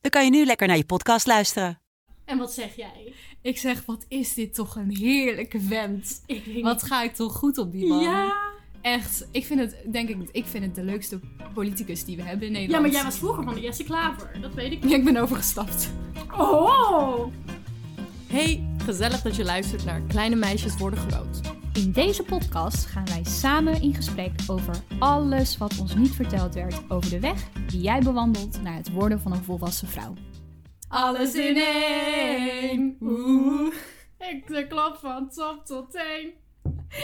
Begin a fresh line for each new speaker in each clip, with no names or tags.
dan kan je nu lekker naar je podcast luisteren.
En wat zeg jij?
Ik zeg, wat is dit toch een heerlijke vent.
Ik weet
Wat ga ik toch goed op die man. Echt, ik vind het, denk ik, ik vind het de leukste politicus die we hebben in
Ja,
Nederland.
maar jij was vroeger van de Jesse Klaver. Dat weet ik niet.
Ja, ik ben overgestapt.
Oh!
Hey, gezellig dat je luistert naar Kleine Meisjes Worden Groot.
In deze podcast gaan wij samen in gesprek over alles wat ons niet verteld werd over de weg die jij bewandelt naar het worden van een volwassen vrouw.
Alles in één. Oeh.
Ik de klap van top tot teen.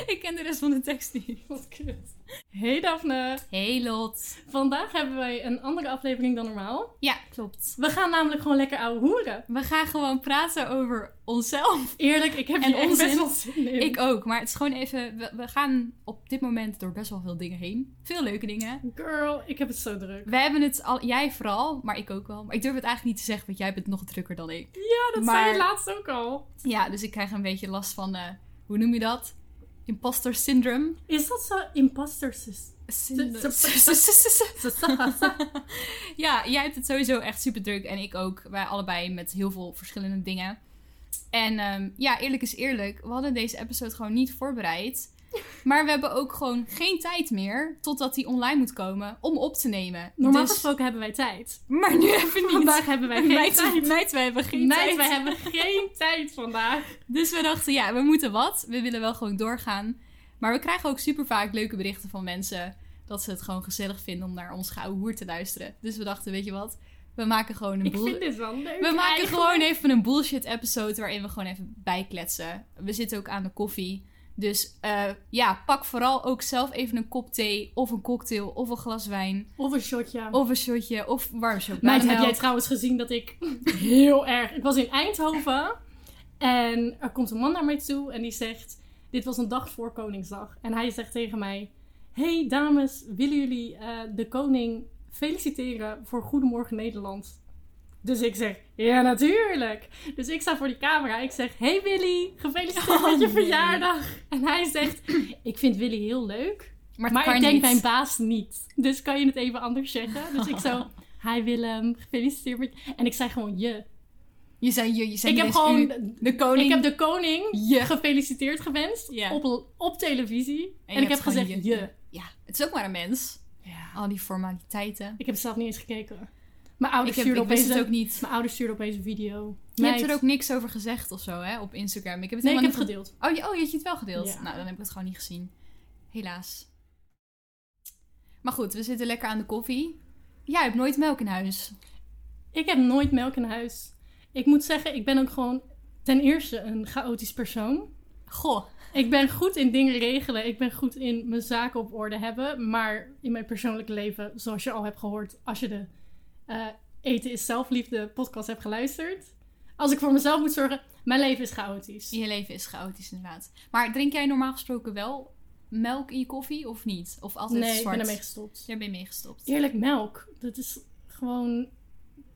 Ik ken de rest van de tekst niet.
Wat kut. Hey Daphne.
Hey Lot.
Vandaag hebben wij een andere aflevering dan normaal.
Ja, klopt.
We gaan namelijk gewoon lekker ouwe hoeren.
We gaan gewoon praten over onszelf.
Eerlijk, ik heb
En
hier echt
onzin.
best wel zin in.
Ik ook, maar het is gewoon even... We, we gaan op dit moment door best wel veel dingen heen. Veel leuke dingen.
Girl, ik heb het zo druk.
We hebben het al... Jij vooral, maar ik ook wel. Maar ik durf het eigenlijk niet te zeggen, want jij bent nog drukker dan ik.
Ja, dat zei
Maar-
je laatst ook al.
Ja, dus ik krijg een beetje last van... eh, hoe noem je dat? Imposter syndrome.
Is dat zo imposter sys-
Syndrome.
Sy-
Ja, jij hebt het sowieso echt super druk en ik ook. Wij allebei met heel veel verschillende dingen. En ehm, ja, eerlijk is eerlijk, we hadden deze episode gewoon niet voorbereid. Maar we hebben ook gewoon geen tijd meer totdat die online moet komen om op te nemen.
Normaal
Dus-
gesproken hebben wij tijd.
maar nu even niet.
Vandaag hebben wij geen
Meid,
tijd.
meid, wij hebben geen
Nee,
tijd.
wij hebben geen tijd vandaag.
Dus we dachten, ja, we moeten wat. We willen wel gewoon doorgaan. Maar we krijgen ook super vaak leuke berichten van mensen dat ze het gewoon gezellig vinden om naar ons gouden hoer te luisteren. Dus we dachten, weet je wat? We maken gewoon een
Ik vind
boel.
dit wel leuk.
We maken
eigenlijk.
gewoon even een bullshit episode waarin we gewoon even bijkletsen. We zitten ook aan de koffie. Dus eh, ja, pak vooral ook zelf even een kop thee of een cocktail of een glas wijn
Of een shotje.
of een shotje of warm shot.
Meid, heb jij trouwens gezien dat ik heel erg... Ik was in Eindhoven en er komt een man naar mij toe en die zegt... Dit was een dag voor Koningsdag. En hij zegt tegen mij... Hey dames, willen jullie eh, de koning feliciteren voor Goedemorgen Nederland? Dus ik zeg, ja natuurlijk. Dus ik sta voor die camera. Ik zeg, hey Willy, gefeliciteerd met je verjaardag. En hij zegt, ik vind Willy heel leuk.
Maar,
Maar ik
ik
denk mijn baas niet. Dus kan je het even anders zeggen? Dus ik zo, hi Willem, gefeliciteerd met En ik zei gewoon je.
Je zei je, je zei
Ik heb
dus
gewoon-
u, de koning.
Ik heb de koning
je.
gefeliciteerd gewenst
Ja.
op, op televisie. En,
je
ik
hebt
heb
gewoon
gezegd je.
Ja, het is ook maar een mens. Al die formaliteiten.
Ik heb zelf niet eens gekeken. Mijn
Ik,
ouders
heb,
stuurden
ik wist
opeens
het
een-
ook niet.
Mijn ouders stuurden opeens een video.
Je
Meid.
hebt er ook niks over gezegd of zo, hè? Op Instagram. Ik heb het
Nee, ik heb
helemaal
het gedeeld.
niet... Oh, je, oh, je hebt het wel gedeeld?
Ja.
Nou, dan heb ik het gewoon niet gezien. Helaas. Maar goed, we zitten lekker aan de koffie. Jij hebt nooit melk in huis.
Ik heb nooit melk in huis. Ik moet zeggen, ik ben ook gewoon ten eerste een chaotisch persoon.
Goh.
Ik ben goed in dingen regelen. Ik ben goed in mijn zaken op orde hebben. Maar in mijn persoonlijke leven, zoals je al hebt gehoord, als je de eh, Eten is Zelfliefde podcast hebt geluisterd. Als ik voor mezelf moet zorgen, mijn leven is chaotisch.
Je leven is chaotisch inderdaad. Maar drink jij normaal gesproken wel melk in je koffie of niet? Of altijd
nee, ik ben
zwart?
ermee gestopt.
Daar ben je mee gestopt.
Eerlijk melk, dat is gewoon.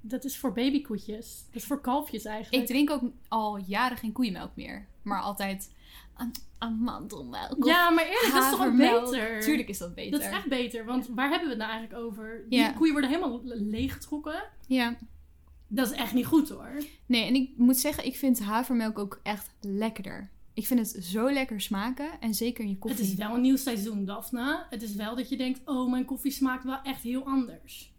Dat is voor babykoetjes. Dat is voor kalfjes eigenlijk.
Ik drink ook al jaren geen koeienmelk meer. Maar altijd am- amandelmelk. of
ja, maar eerlijk, dat is toch ook
havermelk.
beter?
Tuurlijk is dat beter.
Dat is echt beter, want waar hebben we het nou eigenlijk over? Die
Ja.
koeien worden helemaal leeggetrokken.
Ja.
Dat is echt niet goed hoor.
Nee, en ik moet zeggen, ik vind havermelk ook echt lekkerder. Ik vind het zo lekker smaken. En zeker in je
Het
koffie.
is wel een nieuw seizoen, Daphne. Het is wel dat je denkt, oh, mijn koffie smaakt wel echt heel anders.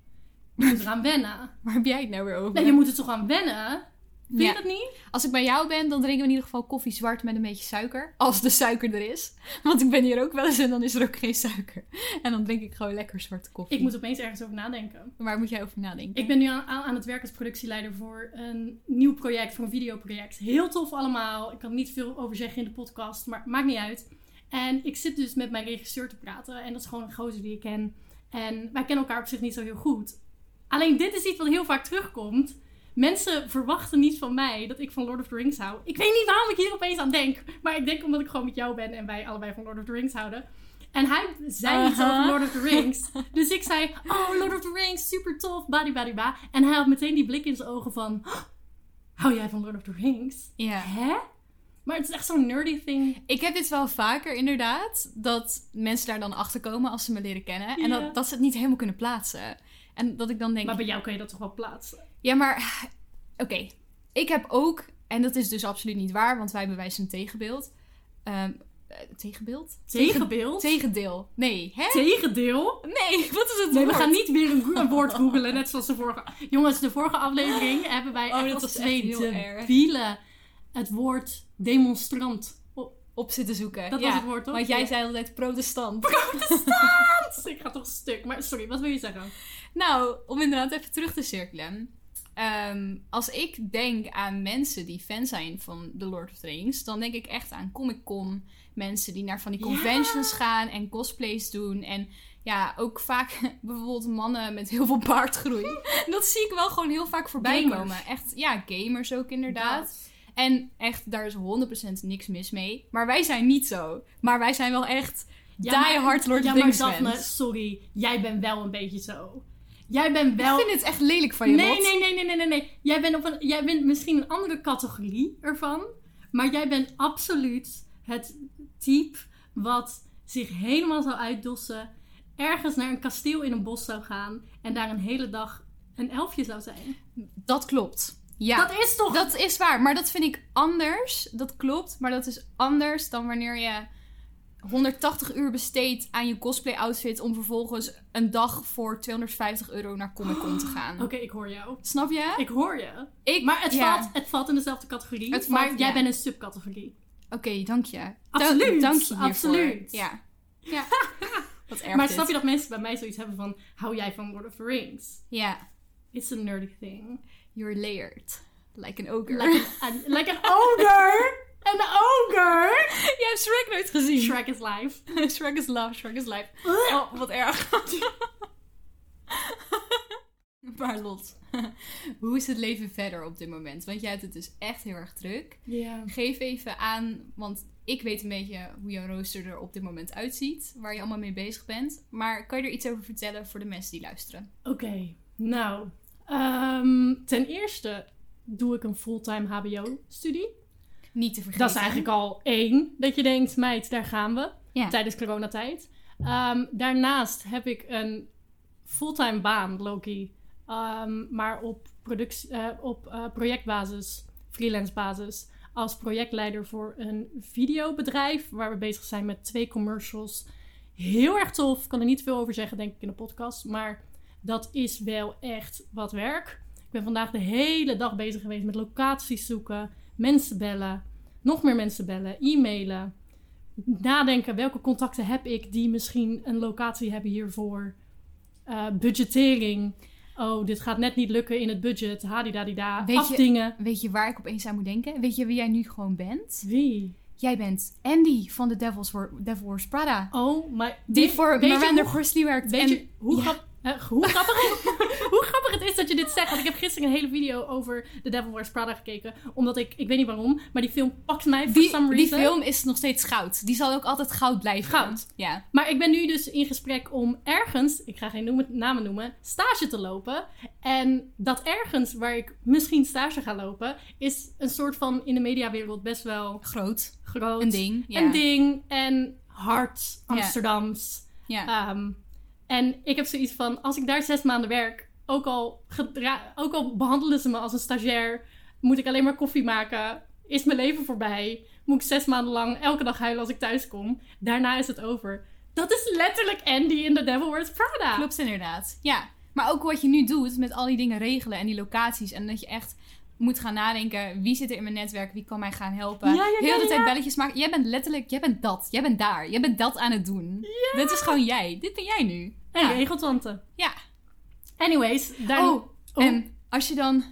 Je moet eraan wennen.
Waar heb jij het nou weer over?
Nee, je moet er toch aan wennen? Vind je
Ja.
dat niet?
Als ik bij jou ben, dan drinken we in ieder geval koffie zwart met een beetje suiker. Als de suiker er is. Want ik ben hier ook wel eens en dan is er ook geen suiker. En dan drink ik gewoon lekker zwarte koffie.
Ik moet opeens ergens over nadenken.
Waar moet jij over nadenken?
Ik ben nu aan, aan het werk als productieleider voor een nieuw project, voor een videoproject. Heel tof allemaal. Ik kan er niet veel over zeggen in de podcast, maar maakt niet uit. En ik zit dus met mijn regisseur te praten. En dat is gewoon een gozer die ik ken. En wij kennen elkaar op zich niet zo heel goed. Alleen dit is iets wat heel vaak terugkomt. Mensen verwachten niet van mij dat ik van Lord of the Rings hou. Ik weet niet waarom ik hier opeens aan denk. Maar ik denk omdat ik gewoon met jou ben en wij allebei van Lord of the Rings houden. En hij zei iets
Aha.
over Lord of the Rings. Dus ik zei, oh Lord of the Rings, super tof, badibadiba. En hij had meteen die blik in zijn ogen van, "Oh, hou jij van Lord of the Rings?
Ja.
Hè? Maar het is echt zo'n nerdy thing.
Ik heb dit wel vaker inderdaad, dat mensen daar dan achter komen als ze me leren kennen. En
Ja.
dat, dat ze het niet helemaal kunnen plaatsen. En dat ik dan denk,
Maar bij jou kan je dat toch wel plaatsen?
ja maar, oké. Ik heb ook, en dat is dus absoluut niet waar, want wij bewijzen een tegenbeeld. Ehm, eh, tegenbeeld?
Tegenbeeld?
Tegendeel. Nee, hè?
Tegendeel?
nee, wat is het
Nee, we
woord?
gaan niet weer een, go- een woord googelen, net zoals de vorige. Jongens, de vorige aflevering hebben wij
Oh,
echt
dat
als
was echt
twee
heel erg.
debielen het woord demonstrant op.
op zitten zoeken.
Dat
ja.
was het woord, toch?
Want jij
Ja.
zei altijd protestant.
Oh, Ik ga toch stuk, maar sorry, wat wil je zeggen?
Nou, om inderdaad even terug te cirkelen. Ehm, als ik denk aan mensen die fan zijn van The Lord of the Rings, dan denk ik echt aan Comic Con. Mensen die naar van die
Ja.
conventions gaan en cosplays doen. En ja, ook vaak bijvoorbeeld mannen met heel veel baardgroei. dat zie ik wel gewoon heel vaak voorbij
Gamers.
komen. Echt, ja, gamers ook inderdaad. En echt, daar is 100% niks mis mee. Maar wij zijn niet zo. Maar wij zijn wel echt
Ja,
die
maar-
hard Lord
Ja,
of the
maar
Rings
Daphne,
fans.
sorry, jij bent wel een beetje zo. Jij bent wel...
Ik vind het echt lelijk van je,
Nee,
Lot.
nee, nee, nee, nee, nee, nee. Jij bent, op een, jij bent misschien een andere categorie ervan. Maar jij bent absoluut het type wat zich helemaal zou uitdossen. Ergens naar een kasteel in een bos zou gaan. En daar een hele dag een elfje zou zijn.
Dat klopt. Ja,
Dat is toch...
dat is waar. Maar dat vind ik anders. Dat klopt. Maar dat is anders dan wanneer je 180 uur besteedt aan je cosplay outfit om vervolgens een dag voor 250 euro naar Comic Con te gaan.
Oh, Oké, ik hoor jou.
Snap je?
Ik hoor je.
Ik-
maar het,
ja.
valt, het valt in dezelfde categorie.
Het
maar
valt-
jij
ja.
bent een subcategorie.
Oké, dank je. Da-
Absoluut,
dank je hiervoor.
absoluut.
Ja. ja. Wat erg
maar
dit.
snap je dat mensen bij mij zoiets hebben van... Hou jij van Lord of the Rings?
Ja.
It's a nerdy thing.
You're layered. Like an ogre.
Like an, like an ogre! Een ogre!
Jij hebt Shrek nooit gezien.
Shrek is live.
Shrek is love, Shrek is life. Oh, wat erg. maar Lot, hoe is het leven verder op dit moment? Want jij hebt het dus echt heel erg druk.
Ja.
Geef even aan, want ik weet een beetje hoe jouw rooster er op dit moment uitziet. Waar je allemaal mee bezig bent. Maar kan je er iets over vertellen voor de mensen die luisteren?
Oké, nou. ehm, ten eerste doe ik een fulltime HBO-studie.
Niet te vergeten.
Dat is eigenlijk al één. Dat je denkt, meid, daar gaan we.
Ja.
Tijdens coronatijd. Ehm, daarnaast heb ik een fulltime baan, Loki. Ehm, maar op, productie, eh, op eh, projectbasis, freelance basis. Als projectleider voor een videobedrijf. Waar we bezig zijn met twee commercials. Heel erg tof. Kan er niet veel over zeggen, denk ik, in de podcast. Maar dat is wel echt wat werk. Ik ben vandaag de hele dag bezig geweest met locaties zoeken. Mensen bellen. Nog meer mensen bellen. E-mailen nadenken welke contacten heb ik die misschien een locatie hebben hiervoor. Eh, budgettering. Oh, dit gaat net niet lukken in het budget. Hadidadida.
Weet je-
Afdingen.
Weet je waar ik opeens aan moet denken? Weet je wie jij nu gewoon bent?
Wie?
Jij bent Andy van de Devil's War, Devil Wars Prada.
Oh, maar...
Die
Weet-
voor
weet je
Miranda
hoe-
Horsley werkt.
Weet
en-
je hoe,
Ja.
grap- eh, hoe, grappig, hoe grappig het is dat je dit zegt? Want ik heb gisteren een hele video over The Devil Wears Prada gekeken. Omdat ik... Ik weet niet waarom, maar die film pakt mij for
Die,
some
die
reason.
film is nog steeds goud. Die zal ook altijd goud blijven.
Goud.
Ja.
Maar ik ben nu dus in gesprek om ergens, ik ga geen noemen- namen noemen, stage te lopen. En dat ergens waar ik misschien stage ga lopen, is een soort van in de mediawereld best wel
Groot.
groot.
Een ding. Ja.
Een ding en hard Amsterdams.
Ja.
Ehm, en ik heb zoiets van, als ik daar zes maanden werk, ook al, gedra- ook al behandelen ze me als een stagiair, moet ik alleen maar koffie maken, is mijn leven voorbij, moet ik zes maanden lang elke dag huilen als ik thuis kom, daarna is het over. Dat is letterlijk Andy in The Devil Wears Prada.
Klopt inderdaad. Ja. Maar ook wat je nu doet met al die dingen regelen en die locaties. En dat je echt moet gaan nadenken. Wie zit er in mijn netwerk? Wie kan mij gaan helpen?
Ja, ja, ja,
Heel de
ja,
tijd
ja.
belletjes maken. Jij bent letterlijk, jij bent dat. Jij bent daar. Jij bent dat aan het doen. Dit is gewoon jij. Dit ben jij nu.
En regeltante.
Ja.
Anyways, daar...
Oh, En als je dan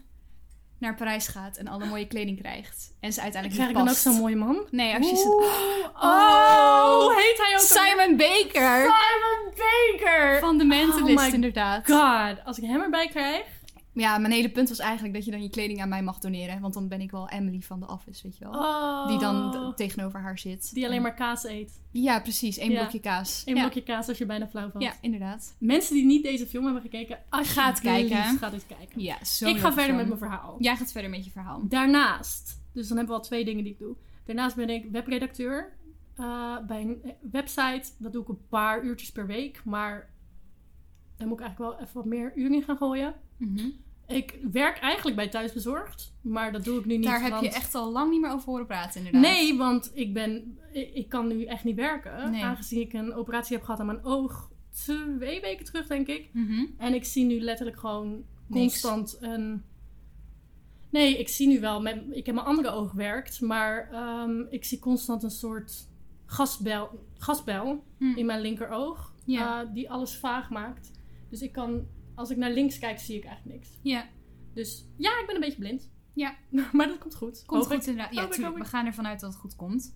naar Parijs gaat en alle mooie kleding krijgt. En ze uiteindelijk
Krijg ik
niet
dan ook
past.
zo'n mooie man?
Nee, als je
Oeh.
ze...
Oh, hoe heet hij ook alweer?
Simon Baker!
Simon Baker!
Van de Mentalist,
Oh my
inderdaad.
God, als ik hem erbij krijg.
Ja, mijn hele punt was eigenlijk dat je dan je kleding aan mij mag doneren. Want dan ben ik wel Emily van The Office, weet je wel.
Oh,
Die dan d- tegenover haar zit.
die alleen maar kaas eet.
Ja, precies. Eén
Ja.
blokje kaas.
Eén
ja.
blokje kaas als je bijna flauw valt.
Ja, inderdaad.
Mensen die niet deze film hebben gekeken, als
Ga het kijken.
Ga dit kijken.
Ja, zo
ik ga
leuk
verder
film.
met mijn verhaal.
Jij gaat verder met je verhaal.
Daarnaast, dus dan hebben we al twee dingen die ik doe. Daarnaast ben ik webredacteur eh, bij een website. Dat doe ik een paar uurtjes per week, maar daar moet ik eigenlijk wel even wat meer uren in gaan gooien.
Mhm.
Ik werk eigenlijk bij Thuisbezorgd, maar dat doe ik nu niet.
Daar heb je
want-
echt al lang niet meer over horen praten, inderdaad.
Nee, want ik, ben, ik, ik kan nu echt niet werken.
Nee.
Aangezien ik een operatie heb gehad aan mijn oog twee weken terug, denk ik.
Mhm.
En ik zie nu letterlijk gewoon
Niks.
constant een. Nee, ik zie nu wel. Met... Ik heb mijn andere oog gewerkt, maar ehm, ik zie constant een soort gasbel, gasbel
Hm.
in mijn linkeroog,
Ja.
eh, die alles vaag maakt. Dus ik kan, als ik naar links kijk, zie ik eigenlijk niks.
Ja,
Dus ja, ik ben een beetje blind.
Ja.
maar dat komt goed.
komt
Hoop ik.
goed inderdaad. Ja,
Hoop ik,
tuurlijk.
hoop
We
ik.
gaan ervan uit dat het goed komt.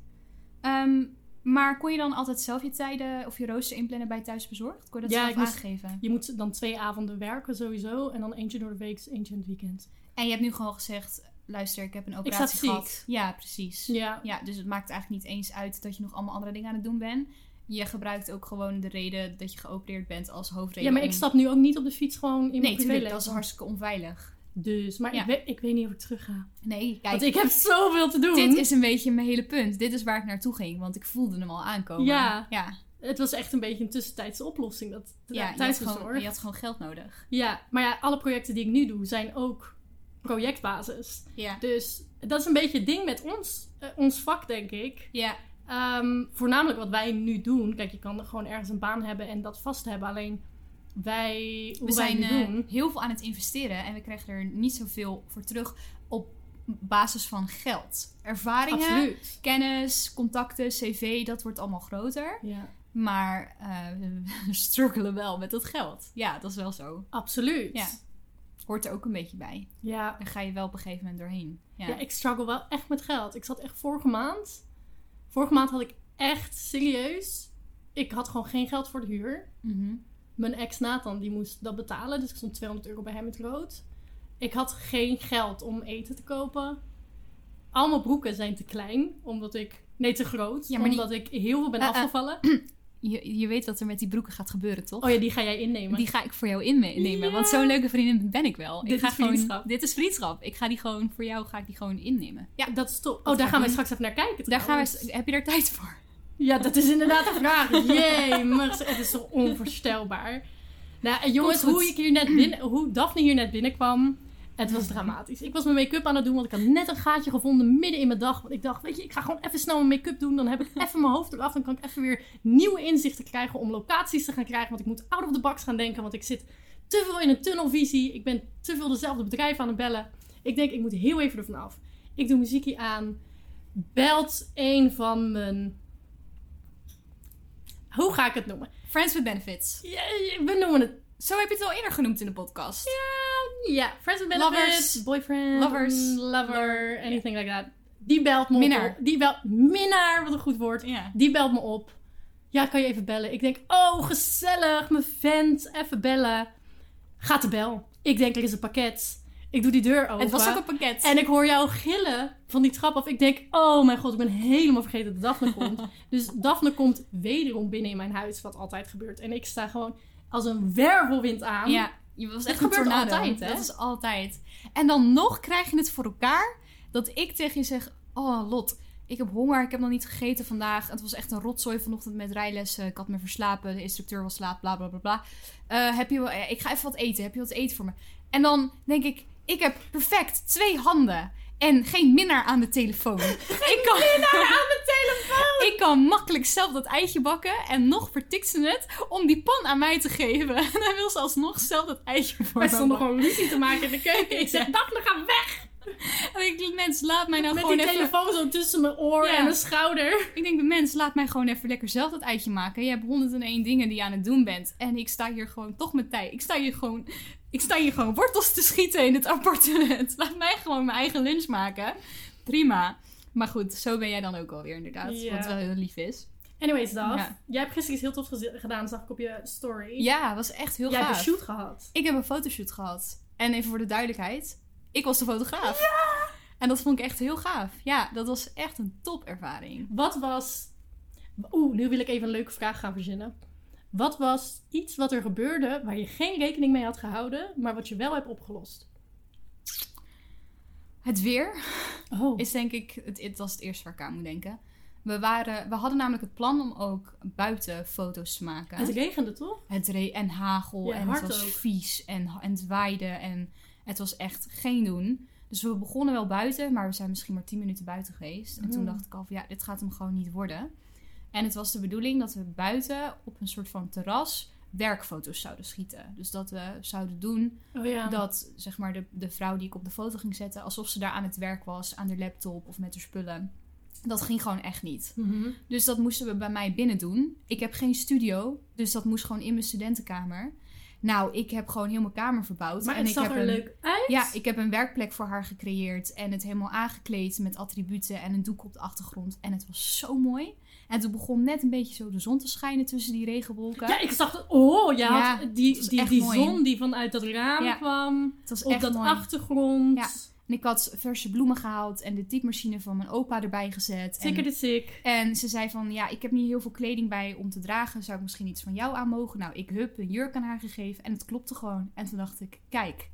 Ehm, maar kon je dan altijd zelf je tijden of je rooster inplannen bij thuisbezorgd? Kon je dat
Ja, ik
zelf
moest-
aangeven?
Je moet dan twee avonden werken sowieso. En dan eentje door de week, eentje in het weekend.
En je hebt nu gewoon gezegd, luister, ik heb een
sta
operatie
ziek.
gehad. Ja, precies.
Ja,
Ja, dus het maakt eigenlijk niet eens uit dat je nog allemaal andere dingen aan het doen bent. Je gebruikt ook gewoon de reden dat je geopereerd bent als hoofdreden.
ja maar ik
om-
stap nu ook niet op de fiets gewoon in mijn
Nee, tuurlijk,
privéleven.
dat is hartstikke onveilig.
Dus, maar
Ja.
ik, weet, ik weet niet of ik terug ga.
Nee, kijk,
Want ik heb zoveel te doen.
dit is een beetje mijn hele punt. Dit is waar ik naartoe ging, want ik voelde hem al aankomen.
Ja.
ja,
Het was echt een beetje een tussentijdse oplossing. Dat
ja je, had
thuisbezorgd.
gewoon, je had gewoon geld nodig.
Ja, maar ja, alle projecten die ik nu doe zijn ook projectbasis.
Ja.
Dus dat is een beetje het ding met ons, eh, ons vak, denk ik.
Ja,
Ehm, voornamelijk wat wij nu doen. Kijk, je kan gewoon ergens een baan hebben en dat vast hebben. Alleen wij, hoe
we zijn
wij nu
eh,
doen.
heel veel aan het investeren en we krijgen er niet zoveel voor terug op basis van geld. Ervaringen,
Absoluut.
kennis, contacten, cv, dat wordt allemaal groter.
Ja,
Maar eh, we struggelen wel met dat geld. Ja, dat is wel zo.
absoluut.
Ja. Hoort er ook een beetje bij.
ja.
Daar ga je wel op een gegeven moment doorheen. Ja,
Ja, ik struggle wel echt met geld. Ik zat echt vorige maand. Vorige maand had ik echt serieus. Ik had gewoon geen geld voor de huur.
Mhm.
Mijn ex Nathan die moest dat betalen. Dus ik stond 200 euro bij hem in het rood. Ik had geen geld om eten te kopen. Al mijn broeken zijn te klein. Omdat ik. Nee, te groot.
Ja, maar die-
omdat ik heel veel ben
Eh, eh.
afgevallen.
je, je weet wat er met die broeken gaat gebeuren, toch?
Oh ja, die ga jij innemen.
Die ga ik voor jou innemen.
Ja.
Want zo'n leuke vriendin ben ik wel. ik
Dit
ga
is
gewoon-
vriendschap.
dit is vriendschap. Ik ga die gewoon voor jou ga ik die gewoon innemen. Ja,
Ja, dat is top.
Dat
Oh, daar
ga
gaan
ik
wij
doen.
straks even naar kijken.
daar gaan
trouwens.
we. Heb je daar tijd voor?
Ja, dat is inderdaad een vraag. Jee, maar het is toch onvoorstelbaar. Nou, en jongens,
Komt goed.
hoe, ik hier net binnen, hoe Daphne hier net binnenkwam, het was dramatisch. Ik was mijn make-up aan het doen, want ik had net een gaatje gevonden midden in mijn dag. Want ik dacht, weet je, ik ga gewoon even snel mijn make-up doen. Dan heb ik even mijn hoofd eraf. Dan kan ik even weer nieuwe inzichten krijgen om locaties te gaan krijgen. Want ik moet out of the box gaan denken, want ik zit te veel in een tunnelvisie. Ik ben te veel dezelfde bedrijven aan het bellen. Ik denk, ik moet heel even ervan af. Ik doe muziekje aan. Belt een van mijn... Hoe ga ik het noemen?
Friends with benefits.
Ja, we noemen het...
Zo heb je het al eerder genoemd in de podcast.
Ja, ja, friends with benefits.
Lovers.
Boyfriend.
Lovers.
Lover. Anything like that. Die belt me
Minnaar.
op. Die belt... Minnaar, wat een goed woord.
Ja.
Die belt me op. Ja, kan je even bellen? Ik denk, oh, gezellig, mijn vent, even bellen. Gaat de bel. Ik denk, er is een pakket. Ik doe die deur open.
Het was ook een pakket.
En ik hoor jou gillen van die trap af. Ik denk, oh mijn god, ik ben helemaal vergeten dat Daphne komt. dus Daphne komt wederom binnen in mijn huis, wat altijd gebeurt. En ik sta gewoon als een wervelwind aan.
Ja, je was echt een
Dat gebeurt
tornado.
altijd, hè?
Dat is altijd. En dan nog krijg je het voor elkaar dat ik tegen je zeg: Oh, Lot, ik heb honger. Ik heb nog niet gegeten vandaag. Het was echt een rotzooi vanochtend met rijlessen. Ik had me verslapen. De instructeur was laat, bla bla bla bla. Eh, heb je, wel- eh, ik ga even wat eten. Heb je wat eten voor me? En dan denk ik: Ik heb perfect twee handen. En geen minnaar aan de telefoon. ik kan... minnaar aan de telefoon! Ik kan makkelijk zelf dat eitje bakken. En nog vertikt ze het om die pan aan mij te geven. En dan wil ze alsnog zelf dat eitje voor
Wij
me
stonden
bakken.
gewoon ruzie te maken in de keuken. Ik zeg,
Ja.
Daphne, ga weg!
En ik denk, mens, laat mij nou
Met
gewoon
die
even...
telefoon zo tussen mijn oor
Ja.
en mijn schouder.
Ik denk, mens, laat mij gewoon even lekker zelf dat uitje maken. Je hebt 101 dingen die je aan het doen bent. En ik sta hier gewoon toch met tijd. Ik sta hier gewoon, ik sta hier gewoon wortels te schieten in het appartement. Laat mij gewoon mijn eigen lunch maken. Prima. Maar goed, zo ben jij dan ook alweer inderdaad.
Ja.
Wat wel heel lief is.
Anyways, Daf.
Ja.
Jij hebt gisteren iets heel tofs geze- gedaan, zag ik op je story.
Ja, was echt heel
Jij hebt
gaaf.
een shoot gehad.
Ik heb een fotoshoot gehad. En even voor de duidelijkheid, ik was de fotograaf. En dat vond ik echt heel gaaf. Ja, dat was echt een topervaring.
Wat was... Oeh, nu wil ik even een leuke vraag gaan verzinnen. Wat was iets wat er gebeurde waar je geen rekening mee had gehouden, maar wat je wel hebt opgelost?
Het weer
Oh,
is denk ik, het, het was het eerste waar ik aan moet denken. We, waren, we hadden namelijk het plan om ook buiten foto's te maken.
het regende toch?
Het re- en hagel
Ja,
en het
hard
was
ook.
vies en, ha- en het waaide en het was echt geen doen. Dus we begonnen wel buiten, maar we zijn misschien maar 10 minuten buiten geweest. En toen
Mm.
dacht ik al van ja, dit gaat hem gewoon niet worden. En het was de bedoeling dat we buiten op een soort van terras werkfoto's zouden schieten. Dus dat we zouden doen
Oh ja.
dat zeg maar de, de vrouw die ik op de foto ging zetten, alsof ze daar aan het werk was, aan de laptop of met haar spullen. Dat ging gewoon echt niet.
Mhm.
Dus dat moesten we bij mij binnen doen. Ik heb geen studio, dus dat moest gewoon in mijn studentenkamer. Nou, ik heb gewoon heel mijn kamer verbouwd.
Maar
en
het
ik
zag
heb
er
een,
leuk uit.
Ja, ik heb een werkplek voor haar gecreëerd en het helemaal aangekleed met attributen en een doek op de achtergrond. En het was zo mooi. En toen begon net een beetje zo de zon te schijnen tussen die regenwolken.
Ja, ik zag dat. Oh, ja,
Ja, het was
die, die,
echt
die
mooi.
zon die vanuit dat raam
Ja.
kwam.
het was
Op
echt
dat
mooi.
achtergrond.
Ja. En ik had verse bloemen gehaald en de typemachine van mijn opa erbij gezet.
Zeker
En,
dit sick.
en ze zei van, ja, ik heb niet heel veel kleding bij om te dragen. Zou ik misschien iets van jou aan mogen? Nou, ik heb een jurk aan haar gegeven en het klopte gewoon. En toen dacht ik, kijk,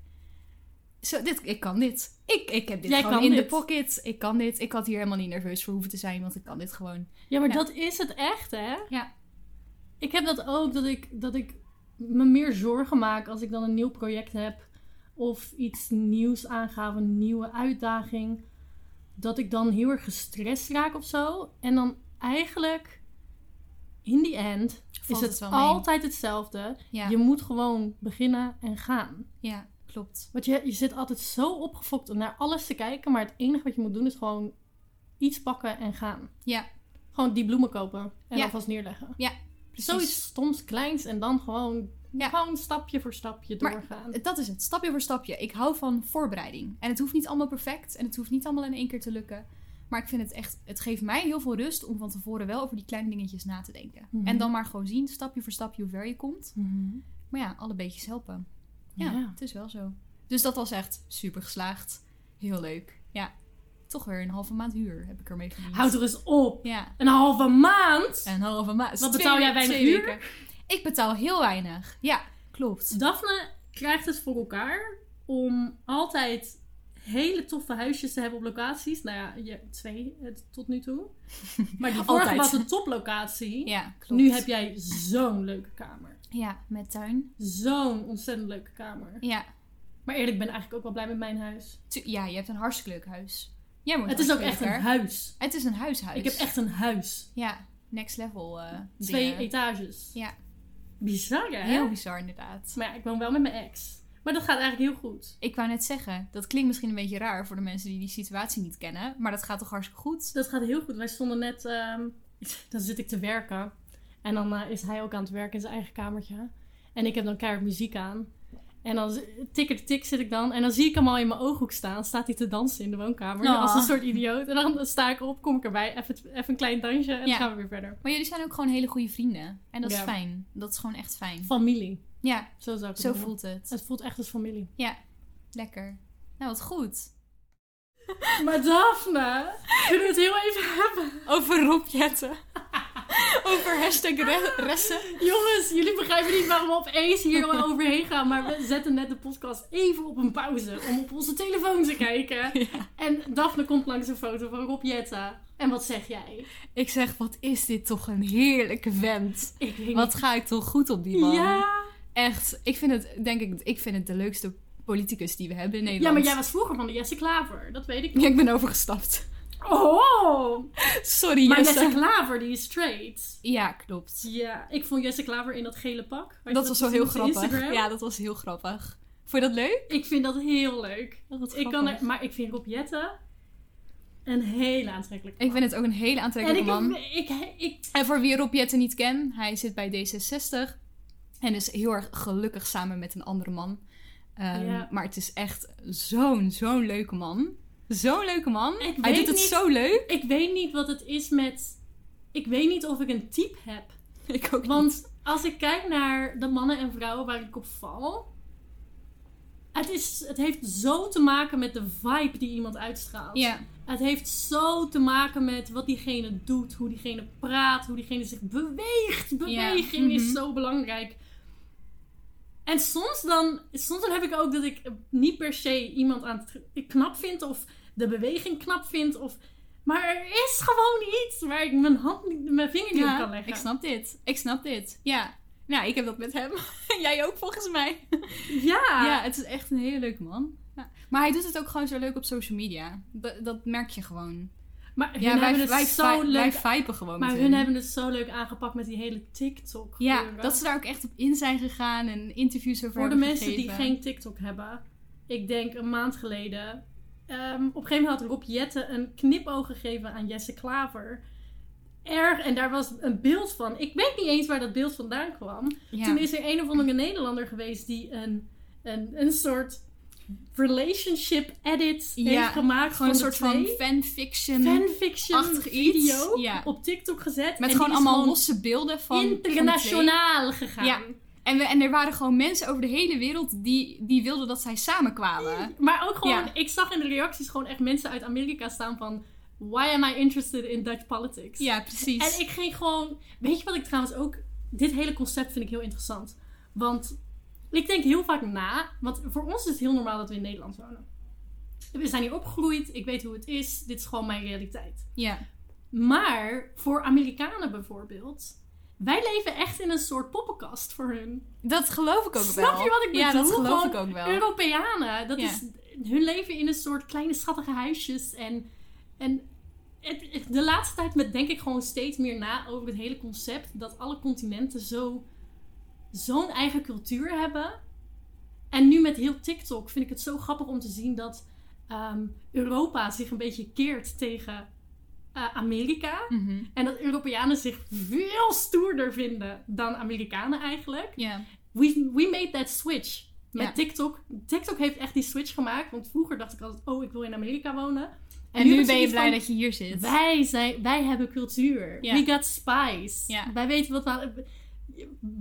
zo, dit, ik kan dit. Ik, ik heb dit
Jij
gewoon
kan
in de
dit.
pocket. Ik kan dit. Ik had hier helemaal niet nerveus voor hoeven te zijn, want ik kan dit gewoon.
Ja, maar
Ja.
dat is het echt, hè?
Ja.
Ik heb dat ook, dat ik, dat ik me meer zorgen maak als ik dan een nieuw project heb. Of iets nieuws aanga, of een nieuwe uitdaging. Dat ik dan heel erg gestrest raak of zo. En dan eigenlijk, in the end,
Valt
is het,
het wel mee.
altijd hetzelfde.
Ja,
Je moet gewoon beginnen en gaan.
ja klopt.
Want je, je zit altijd zo opgefokt om naar alles te kijken. Maar het enige wat je moet doen is gewoon iets pakken en gaan.
Ja.
Gewoon die bloemen kopen en
Ja.
alvast neerleggen.
Precies.
Zoiets stoms, kleins en dan gewoon,
Ja.
gewoon stapje voor stapje
Maar-
doorgaan.
Dat is het, stapje voor stapje. Ik hou van voorbereiding. En het hoeft niet allemaal perfect en het hoeft niet allemaal in één keer te lukken. Maar ik vind het echt, het geeft mij heel veel rust om van tevoren wel over die kleine dingetjes na te denken.
Mhm.
En dan maar gewoon zien, stapje voor stapje, hoe ver je komt.
Mhm.
Maar ja, alle beetjes helpen. Ja,
Ja.
het is wel zo. Dus dat was echt super geslaagd. Heel leuk. Ja, toch weer een halve maand huur heb ik ermee verdiend.
Houd er eens op.
Ja,
Een halve maand?
een halve
Wat
maand. Twee
betaal jij
we-
weinig
twee
huur?
weken. Ik betaal heel weinig. Ja, klopt.
Daphne krijgt het voor elkaar om altijd hele toffe huisjes te hebben op locaties. Nou ja, je, twee eh, tot nu toe. Maar die vorige
Altijd.
was een toplocatie.
Ja, klopt.
nu heb jij zo'n leuke kamer.
Ja, met tuin.
Zo'n ontzettend leuke kamer.
Ja,
Maar eerlijk, ik ben eigenlijk ook wel blij met mijn huis.
Tu- ja, je hebt een hartstikke leuk huis. Jij moet
het is ook
hartstikke
echt een
leuk,
huis.
hè? Het is een huishuis.
Ik heb echt een huis.
Ja, next level eh
Twee
Dus dingen.
etages.
Ja.
Bizar, hè?
Heel bizar inderdaad.
Maar ja, ik woon wel met mijn ex. Maar dat gaat eigenlijk heel goed.
Ik wou net zeggen, dat klinkt misschien een beetje raar voor de mensen die die situatie niet kennen. Maar dat gaat toch hartstikke goed?
Dat gaat heel goed. Wij stonden net... ehm, dan zit ik te werken. En dan eh, is hij ook aan het werken in zijn eigen kamertje. En ik heb dan keihard muziek aan. En dan z- tikker tik zit ik dan. En dan zie ik hem al in mijn ooghoek staan. Staat hij te dansen in de woonkamer.
Oh.
Als een soort idioot. En dan sta ik op, kom ik erbij. Even, even een klein dansje. En
Ja.
dan gaan we weer verder.
Maar jullie zijn ook gewoon hele goede vrienden. En dat is
Ja.
fijn. Dat is gewoon echt fijn.
Familie.
Ja,
Zo zou ik het
zo
noemen.
voelt het.
Het voelt echt als familie.
Lekker. Nou, wat goed.
Maar Daphne, kunnen we het heel even hebben?
Over robjetten. Over hashtag re- ressen.
Jongens, jullie begrijpen niet waarom we opeens hier wel overheen gaan. Maar we zetten net de podcast even op een pauze om op onze telefoon te kijken. En Daphne komt langs een foto van Rob Jetta. En wat zeg jij?
Ik zeg, wat is dit toch een heerlijke vent.
Ik weet
Wat ga ik toch goed op die
niet.
man.
Ja.
Echt, ik vind het, denk ik, ik vind het de leukste politicus die we hebben in
ja,
Nederland.
maar jij was vroeger van de Jesse Klaver. Dat weet ik
Ja,
nog.
ik ben overgestapt.
Oh!
Sorry,
Maar
Jesse.
Jesse Klaver, die is straight.
Ja, klopt.
Ja, ik vond Jesse Klaver in dat gele pak. Had je
Dat was wel
gezien
heel
op zijn
grappig.
Instagram?
Ja, dat was heel grappig. Vond je dat leuk?
Ik vind dat heel leuk.
Oh, wat
ik kan
grappig.
er, maar ik vind Rob Jetten een hele aantrekkelijke
Ik vind het ook een hele
en ik,
aantrekkelijke man.
ik, ik, ik-
En voor wie Rob Jetten niet kent, hij zit bij D66 en is heel erg gelukkig samen met een andere man. Ehm,
Ja.
Maar het is echt zo'n, zo'n leuke man. Zo'n leuke man.
Ik
hij
weet
doet het
niet-
zo leuk.
ik weet niet wat het is met... Ik weet niet of ik een type heb.
Ik ook niet.
Want als ik kijk naar de mannen en vrouwen waar ik op val... Het, is, het heeft zo te maken met de vibe die iemand uitstraalt.
Ja,
Het heeft zo te maken met wat diegene doet, hoe diegene praat, hoe diegene zich beweegt. Beweging is
mhm.
zo belangrijk. En soms dan, soms dan heb ik ook dat ik niet per se iemand aan het knap vind of de beweging knap vind. Of, maar er is gewoon iets waar ik mijn, hand, niet- mijn vinger niet op kan
ja
leggen.
ik snap dit. Ik snap dit. Ja. Nou, ik heb dat met hem. Jij ook volgens mij.
Ja,
Ja, het is echt een hele leuke man. Ja. Maar hij doet het ook gewoon zo leuk op social media. Dat, dat merk je gewoon.
maar hun
Ja, wij,
hebben het
wij,
zo
wij, wij
leuk.
viben gewoon
Maar
met
hun hebben het zo leuk aangepakt met die hele TikTok.
Ja,
gebeuren.
dat ze daar ook echt op in zijn gegaan en interviews over
Voor de
hebben
mensen die
gegeven.
geen TikTok hebben. Ik denk een maand geleden. ehm, op een gegeven moment had Rob Jette een knipoog gegeven aan Jesse Klaver. Erg, en daar was een beeld van. Ik weet niet eens waar dat beeld vandaan kwam.
Ja.
Toen is er een of andere Nederlander geweest die een, een, een soort relationship edit
Ja,
heeft gemaakt.
gewoon een
van de
soort van
twee.
fanfiction.
fanfiction
achtig iets,
video
ja.
op TikTok gezet.
met
en
gewoon
die is
allemaal losse beelden van. van de twee.
internationaal gegaan.
Ja. En, we, en er waren gewoon mensen over de hele wereld die, die wilden dat zij samenkwamen.
Maar ook gewoon,
Ja.
ik zag in de reacties gewoon echt mensen uit Amerika staan van... Why am I interested in Dutch politics?
Ja, precies.
En ik ging gewoon... Weet je wat ik trouwens ook... Dit hele concept vind ik heel interessant. Want ik denk heel vaak na... Want voor ons is het heel normaal dat we in Nederland wonen. We zijn hier opgegroeid. Ik weet hoe het is. Dit is gewoon mijn realiteit.
Ja.
Maar voor Amerikanen bijvoorbeeld... Wij leven echt in een soort poppenkast voor hun.
Dat geloof ik ook
Snap
wel.
je wat ik
Ja,
bedoel?
dat geloof
Gewoon
ik ook wel.
Europeanen, dat
Ja.
is hun leven in een soort kleine schattige huisjes. En, en het- het- de laatste tijd met, denk ik gewoon steeds meer na over het hele concept dat alle continenten zo, zo'n eigen cultuur hebben. En nu met heel TikTok vind ik het zo grappig om te zien dat ehm, Europa zich een beetje keert tegen eh, Amerika.
Mhm.
En dat Europeanen zich veel stoerder vinden dan Amerikanen eigenlijk
Ja.
we, we made that switch met
Ja.
TikTok. TikTok heeft echt die switch gemaakt. Want vroeger dacht ik altijd, oh, ik wil in Amerika wonen. En,
En nu
heb ik
ben je
zoiets
blij
van,
dat je hier zit.
Wij, zijn, wij hebben cultuur.
Ja.
We got spice.
Ja.
Wij weten wat... we-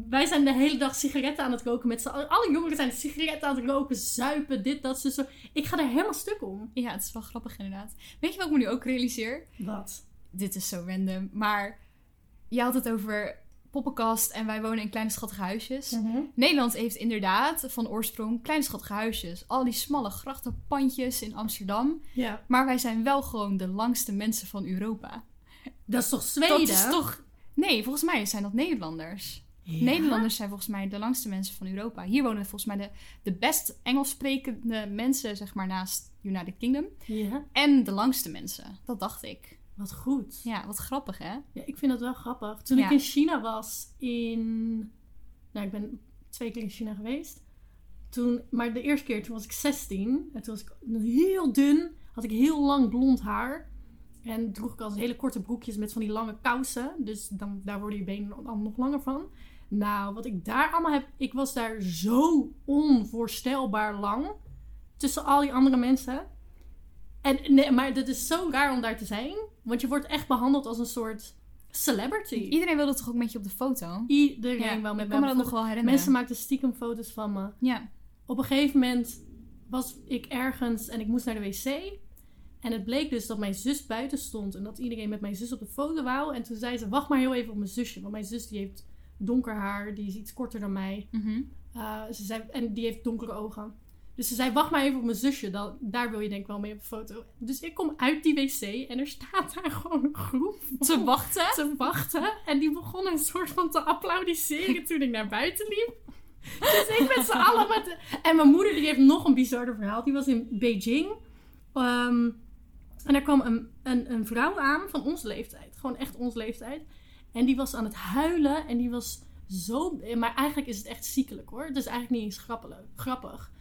Wij zijn de hele dag sigaretten aan het roken met z'n allen. Alle jongeren zijn sigaretten aan het roken, zuipen, dit, dat, zo, zo. Ik ga er helemaal stuk om.
Ja, het is wel grappig inderdaad. Weet je wat ik me nu ook realiseer?
Wat?
dit is zo random, maar je had het over poppenkast en wij wonen in kleine schattige huisjes. Nederland heeft inderdaad van oorsprong kleine schattige huisjes. Al die smalle grachtenpandjes in Amsterdam.
Ja.
Maar wij zijn wel gewoon de langste mensen van Europa.
Dat is toch Zweden?
Dat is toch... Nee, volgens mij zijn dat Nederlanders.
Ja.
Nederlanders zijn volgens mij de langste mensen van Europa. Hier wonen volgens mij de, de best Engels sprekende mensen, zeg maar, naast United Kingdom.
Ja,
En de langste mensen. Dat dacht ik.
wat goed.
Ja, wat grappig hè?
Ja, ik vind dat wel grappig. Toen
Ja.
ik in China was, in. Nou, ik ben twee keer in China geweest. Toen, maar de eerste keer, toen was ik 16. En toen was ik nog heel dun. Had ik heel lang blond haar. En droeg ik al hele korte broekjes met van die lange kousen. Dus dan, daar worden je benen dan nog langer van. Nou, wat ik daar allemaal heb... Ik was daar zo onvoorstelbaar lang. Tussen al die andere mensen. En nee, maar dat is zo raar om daar te zijn. Want je wordt echt behandeld als een soort celebrity.
Iedereen wilde toch ook met je op de foto?
Iedereen
Ja,
wel met
ik
mij
kan me
op
dat
de
nog wel herinneren.
Mensen maakten stiekem foto's van me.
Ja.
Op een gegeven moment was ik ergens en ik moest naar de wc. En het bleek dus dat mijn zus buiten stond en dat iedereen met mijn zus op de foto wou. En toen zei ze, wacht maar heel even op mijn zusje. Want mijn zus die heeft donker haar, die is iets korter dan mij.
Mhm.
Eh, ze zei, en die heeft donkere ogen. Dus ze zei, wacht maar even op mijn zusje. Dan, daar wil je denk ik wel mee op de foto. Dus ik kom uit die wc en er staat daar gewoon een groep
Te wachten.
te wachten. En die begon een soort van te applaudisseren toen ik naar buiten liep. Dus ik met z'n allen met... de- En mijn moeder die heeft nog een bizarder verhaal. Die was in Beijing. Ehm, en daar kwam een, een, een vrouw aan van onze leeftijd. Gewoon echt onze leeftijd. En die was aan het huilen. En die was zo... Maar eigenlijk is het echt ziekelijk hoor. Het is eigenlijk niet eens grappelig. grappig.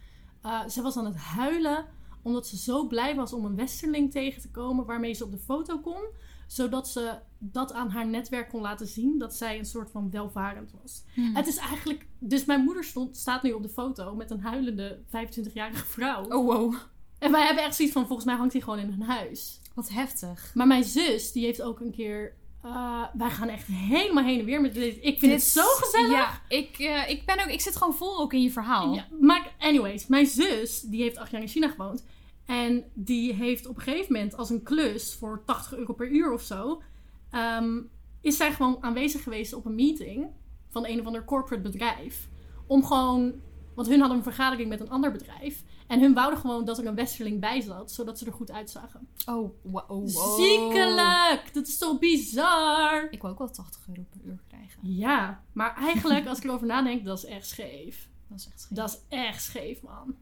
eh, ze was aan het huilen omdat ze zo blij was om een westerling tegen te komen waarmee ze op de foto kon. Zodat ze dat aan haar netwerk kon laten zien dat zij een soort van welvarend was.
Hmm.
Het is eigenlijk... Dus mijn moeder stond, staat nu op de foto met een huilende 25-jarige vrouw.
Oh wow,
En wij hebben echt zoiets van, volgens mij hangt hij gewoon in een huis.
wat heftig.
Maar mijn zus, die heeft ook een keer. eh, wij gaan echt helemaal heen en weer met dit. Ik vind het zo gezellig.
Ja, ik, eh, ik, ben ook, ik zit gewoon vol ook in je verhaal.
Ja, maar anyways, mijn zus, die heeft acht jaar in China gewoond. En die heeft op een gegeven moment als een klus voor 80 euro per uur of zo... ehm, is zij gewoon aanwezig geweest op een meeting van een of ander corporate bedrijf. Om gewoon... Want hun hadden een vergadering met een ander bedrijf. En hun wouden gewoon dat er een westerling bij zat, zodat ze er goed uitzagen.
Oh, wa- oh, wow.
Ziekelijk! Dat is toch bizar!
Ik wil ook wel 80 euro per uur krijgen.
Ja, maar eigenlijk als ik erover nadenk, dat is echt scheef.
Dat is echt
Dat is echt scheef, man.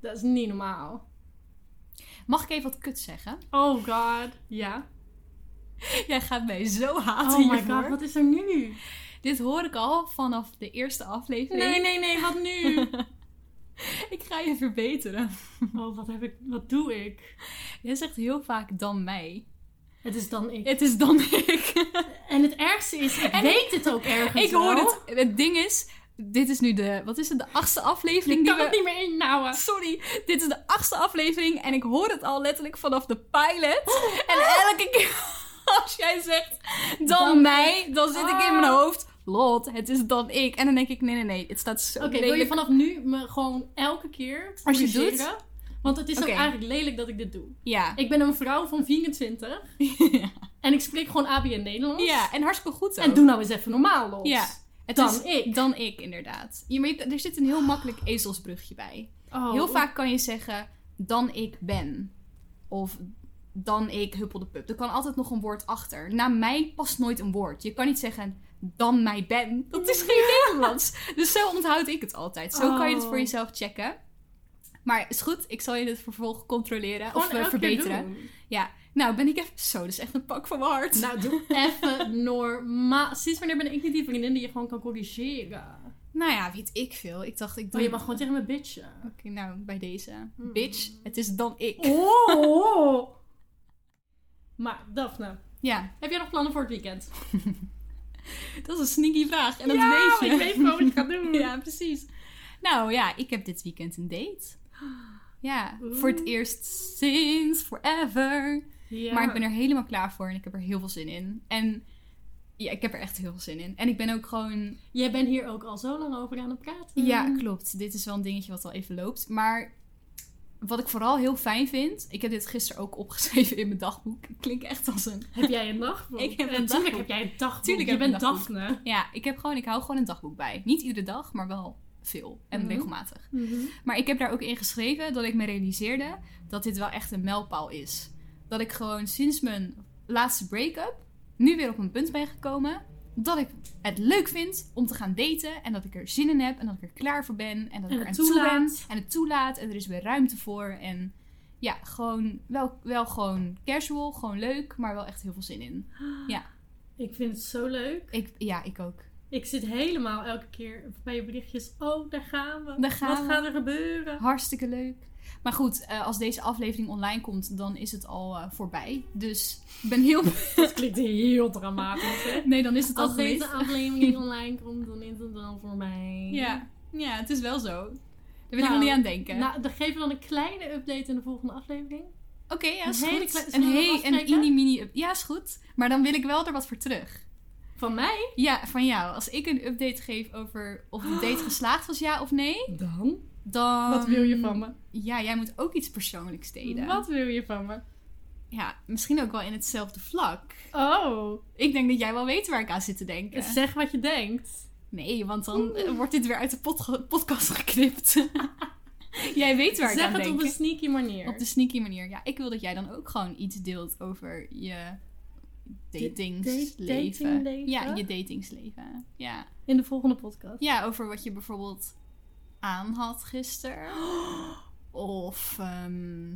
Dat is niet normaal.
Mag ik even wat kut zeggen?
Oh god. Ja.
Jij gaat mij zo haten
Oh my
hiervoor.
god, wat is er nu?
Dit hoor ik al vanaf de eerste aflevering.
Nee, nee, nee, wat nu?
Ik ga je verbeteren.
Oh, wat heb ik, wat doe ik?
Jij zegt heel vaak dan mij.
Het is dan ik.
Het is dan ik.
En het ergste is, ik weet het ook ergens
ik hoor
wel.
het. Het ding is, dit is nu de, wat is het, de achtste aflevering
Ik
die
kan
we...
het niet meer inhouden.
Sorry, dit is de achtste aflevering en ik hoor het al letterlijk vanaf de pilot.
Oh.
En elke keer als jij zegt dan, mij, dan zit ik
Ah.
in mijn hoofd. Lot, het is dan ik. En dan denk ik, nee, nee, nee, het staat zo
Oké, wil je
lelijk.
vanaf nu me gewoon elke keer
Als je het doet?
corrigeren? Want het is
Oké.
ook eigenlijk lelijk dat ik dit doe.
Ja.
Ik ben een vrouw van 24 en ik spreek gewoon ABN Nederlands.
ja, en hartstikke goed ook.
En doe nou eens even normaal, Lot.
Ja. Het
Dan
is
ik.
Dan ik, inderdaad. Ja, maar je- er zit een heel makkelijk ezelsbrugje bij.
Oh,
Heel vaak kan je zeggen, dan ik ben. Of dan ik huppel de pup. Er kan altijd nog een woord achter. Na mij past nooit een woord. Je kan niet zeggen, dan mij ben. Dat is geen Nederlands. Dus zo onthoud ik het altijd. Zo kan je het voor
Oh.
jezelf checken. Maar is goed, ik zal je dit vervolg controleren
Gewoon
of eh,
elke keer
verbeteren.
doen.
Ja, nou ben ik even... Zo, dat is echt een pak van mijn hart.
Nou, doe even normaal. Sinds wanneer ben ik niet die vriendin die je gewoon kan corrigeren?
Nou ja, weet ik veel. Ik dacht, ik doe
Oh, je mag Hmm. gewoon tegen me bitchen.
Oké, nou, bij deze. Bitch, het is dan ik.
Oh! maar, Daphne,
Ja,
heb jij nog plannen voor het weekend?
dat is een sneaky vraag. En dat
ja,
weet je.
ik weet gewoon wat ik ga doen.
Ja, precies. Nou ja, ik heb dit weekend een date. Ja, voor het eerst sinds forever.
Ja.
Maar ik ben er helemaal klaar voor en ik heb er heel veel zin in. En ja, ik heb er echt heel veel zin in. En ik ben ook gewoon...
Jij bent hier ook al zo lang over aan het praten.
Ja, klopt. Dit is wel een dingetje wat al even loopt. Maar wat ik vooral heel fijn vind... Ik heb dit gisteren ook opgeschreven in mijn dagboek. Ik klink echt als een...
Heb jij een dagboek?
Ik heb een
Natuurlijk
dagboek.
heb jij een dagboek.
Tuurlijk
je
heb ik
bent
een dagboek.
Daphne.
Ja, ik, heb gewoon, ik hou gewoon een dagboek bij. Niet iedere dag, maar wel veel. En
Mhm.
regelmatig. Maar ik heb daar ook in geschreven dat ik me realiseerde dat dit wel echt een mijlpaal is. Dat ik gewoon sinds mijn laatste break-up nu weer op een punt ben gekomen dat ik het leuk vind om te gaan daten en dat ik er zin in heb en dat ik er klaar voor ben en dat
En
ik er
het
aan toe ben
toelaat.
en het toelaat en er is weer ruimte voor en ja, gewoon wel, wel gewoon casual, gewoon leuk, maar wel echt heel veel zin in.
Ik vind het zo leuk.
Ik, ja, ik ook.
Ik zit helemaal elke keer bij je berichtjes. Oh, daar gaan we.
Daar gaan
Wat
we.
gaat er gebeuren?
Hartstikke leuk. Maar goed, eh, als deze aflevering online komt, dan is het al eh, voorbij. Dus ik ben heel.
Dat klinkt heel dramatisch, hè?
Nee, dan is het al
Als
geweest.
deze aflevering online komt, dan is het dan voor mij.
Ja. ja, het is wel zo. Daar wil ik
Nou,
nog niet aan denken.
Nou, dan geven we dan een kleine update in de volgende aflevering.
Oké, ja, is
een hele
goed.
kleine-
een
zullen we
hey,
dat
een
afspreken?
mini-mini... Ja, is goed. Maar dan wil ik wel er wat voor terug.
Van mij?
Ja, van jou. Als ik een update geef over of de date geslaagd was, ja of nee,
Dan? Ehm,
dan...
Wat wil je van me?
Ja, jij moet ook iets persoonlijks delen.
Wat wil je van me?
Ja, misschien ook wel in hetzelfde vlak.
Oh,
Ik denk dat jij wel weet waar ik aan zit te denken.
zeg wat je denkt.
Nee, want dan eh, wordt dit weer uit de pod- podcast geknipt. jij weet waar ik
zeg
aan
het
denk.
op een sneaky manier.
Op de sneaky manier. Ja, ik wil dat jij dan ook gewoon iets deelt over je datingsleven.
datingleven?
Ja, je datingsleven. Ja.
In de volgende podcast.
ja, over wat je bijvoorbeeld aan had gisteren. Of, ehm,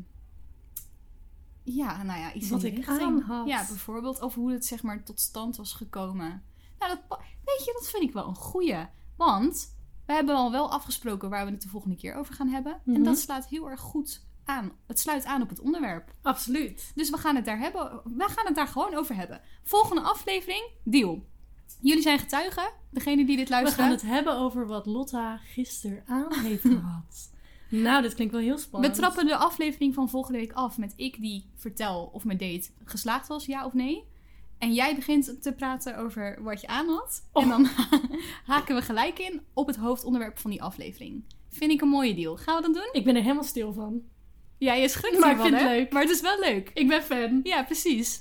ja, nou ja, iets
Wat
in die
ik
richting.
aan had.
Ja, bijvoorbeeld. Of hoe het zeg maar tot stand was gekomen. Nou, dat, pa- weet je, dat vind ik wel een goeie. Want We hebben al wel afgesproken waar we het de volgende keer over gaan hebben. En
Mhm.
dat slaat heel erg goed aan. Het sluit aan op het onderwerp.
Absoluut.
Dus we gaan het daar hebben. We gaan het daar gewoon over hebben. Volgende aflevering, deal. Jullie zijn getuigen. Degene die dit
We
luisteren.
gaan het hebben over wat Lotta gisteren aan heeft gehad. Nou, dit klinkt wel heel
We
spannend.
trappen de aflevering van volgende week af met ik die vertel of mijn date geslaagd was, ja of nee. En jij begint te praten over wat je aan had. En dan haken we gelijk in op het hoofdonderwerp van die aflevering. Vind ik een mooie deal. Gaan we dat doen?
Ik ben er helemaal stil van.
Ja, je schrikt
Maar ik
hiervan,
vind het
hè?
leuk.
Maar het is wel leuk.
Ik ben fan.
Ja, precies.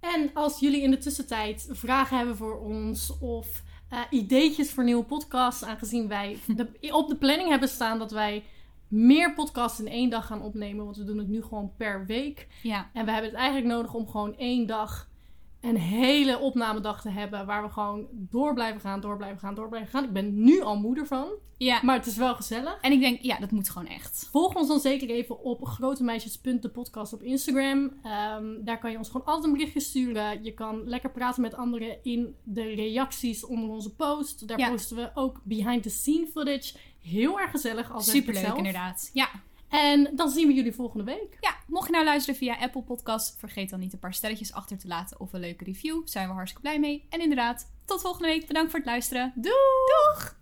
En als jullie in de tussentijd vragen hebben voor ons of eh, ideetjes voor nieuwe podcasts, aangezien wij de- op de planning hebben staan dat wij meer podcasts in één dag gaan opnemen, want we doen het nu gewoon per week.
Ja,
En we hebben het eigenlijk nodig om gewoon één dag een hele opnamedag te hebben waar we gewoon door blijven gaan, door blijven gaan, door blijven gaan. Ik ben nu al moeder van,
ja.
maar het is wel gezellig.
En ik denk, ja, dat moet gewoon echt.
Volg ons dan zeker even op grotemeisjes.depodcast op Instagram. Ehm, daar kan je ons gewoon altijd een berichtje sturen. Je kan lekker praten met anderen in de reacties onder onze post. Daar
Ja.
posten we ook behind the scene footage. Heel erg gezellig als
Superleuk, inderdaad. Ja.
En dan zien we jullie volgende week.
ja, mocht je nou luisteren via Apple Podcast, vergeet dan niet een paar stelletjes achter te laten of een leuke review. Zijn we hartstikke blij mee. En inderdaad, tot volgende week. Bedankt voor het luisteren.
Doei! Doeg!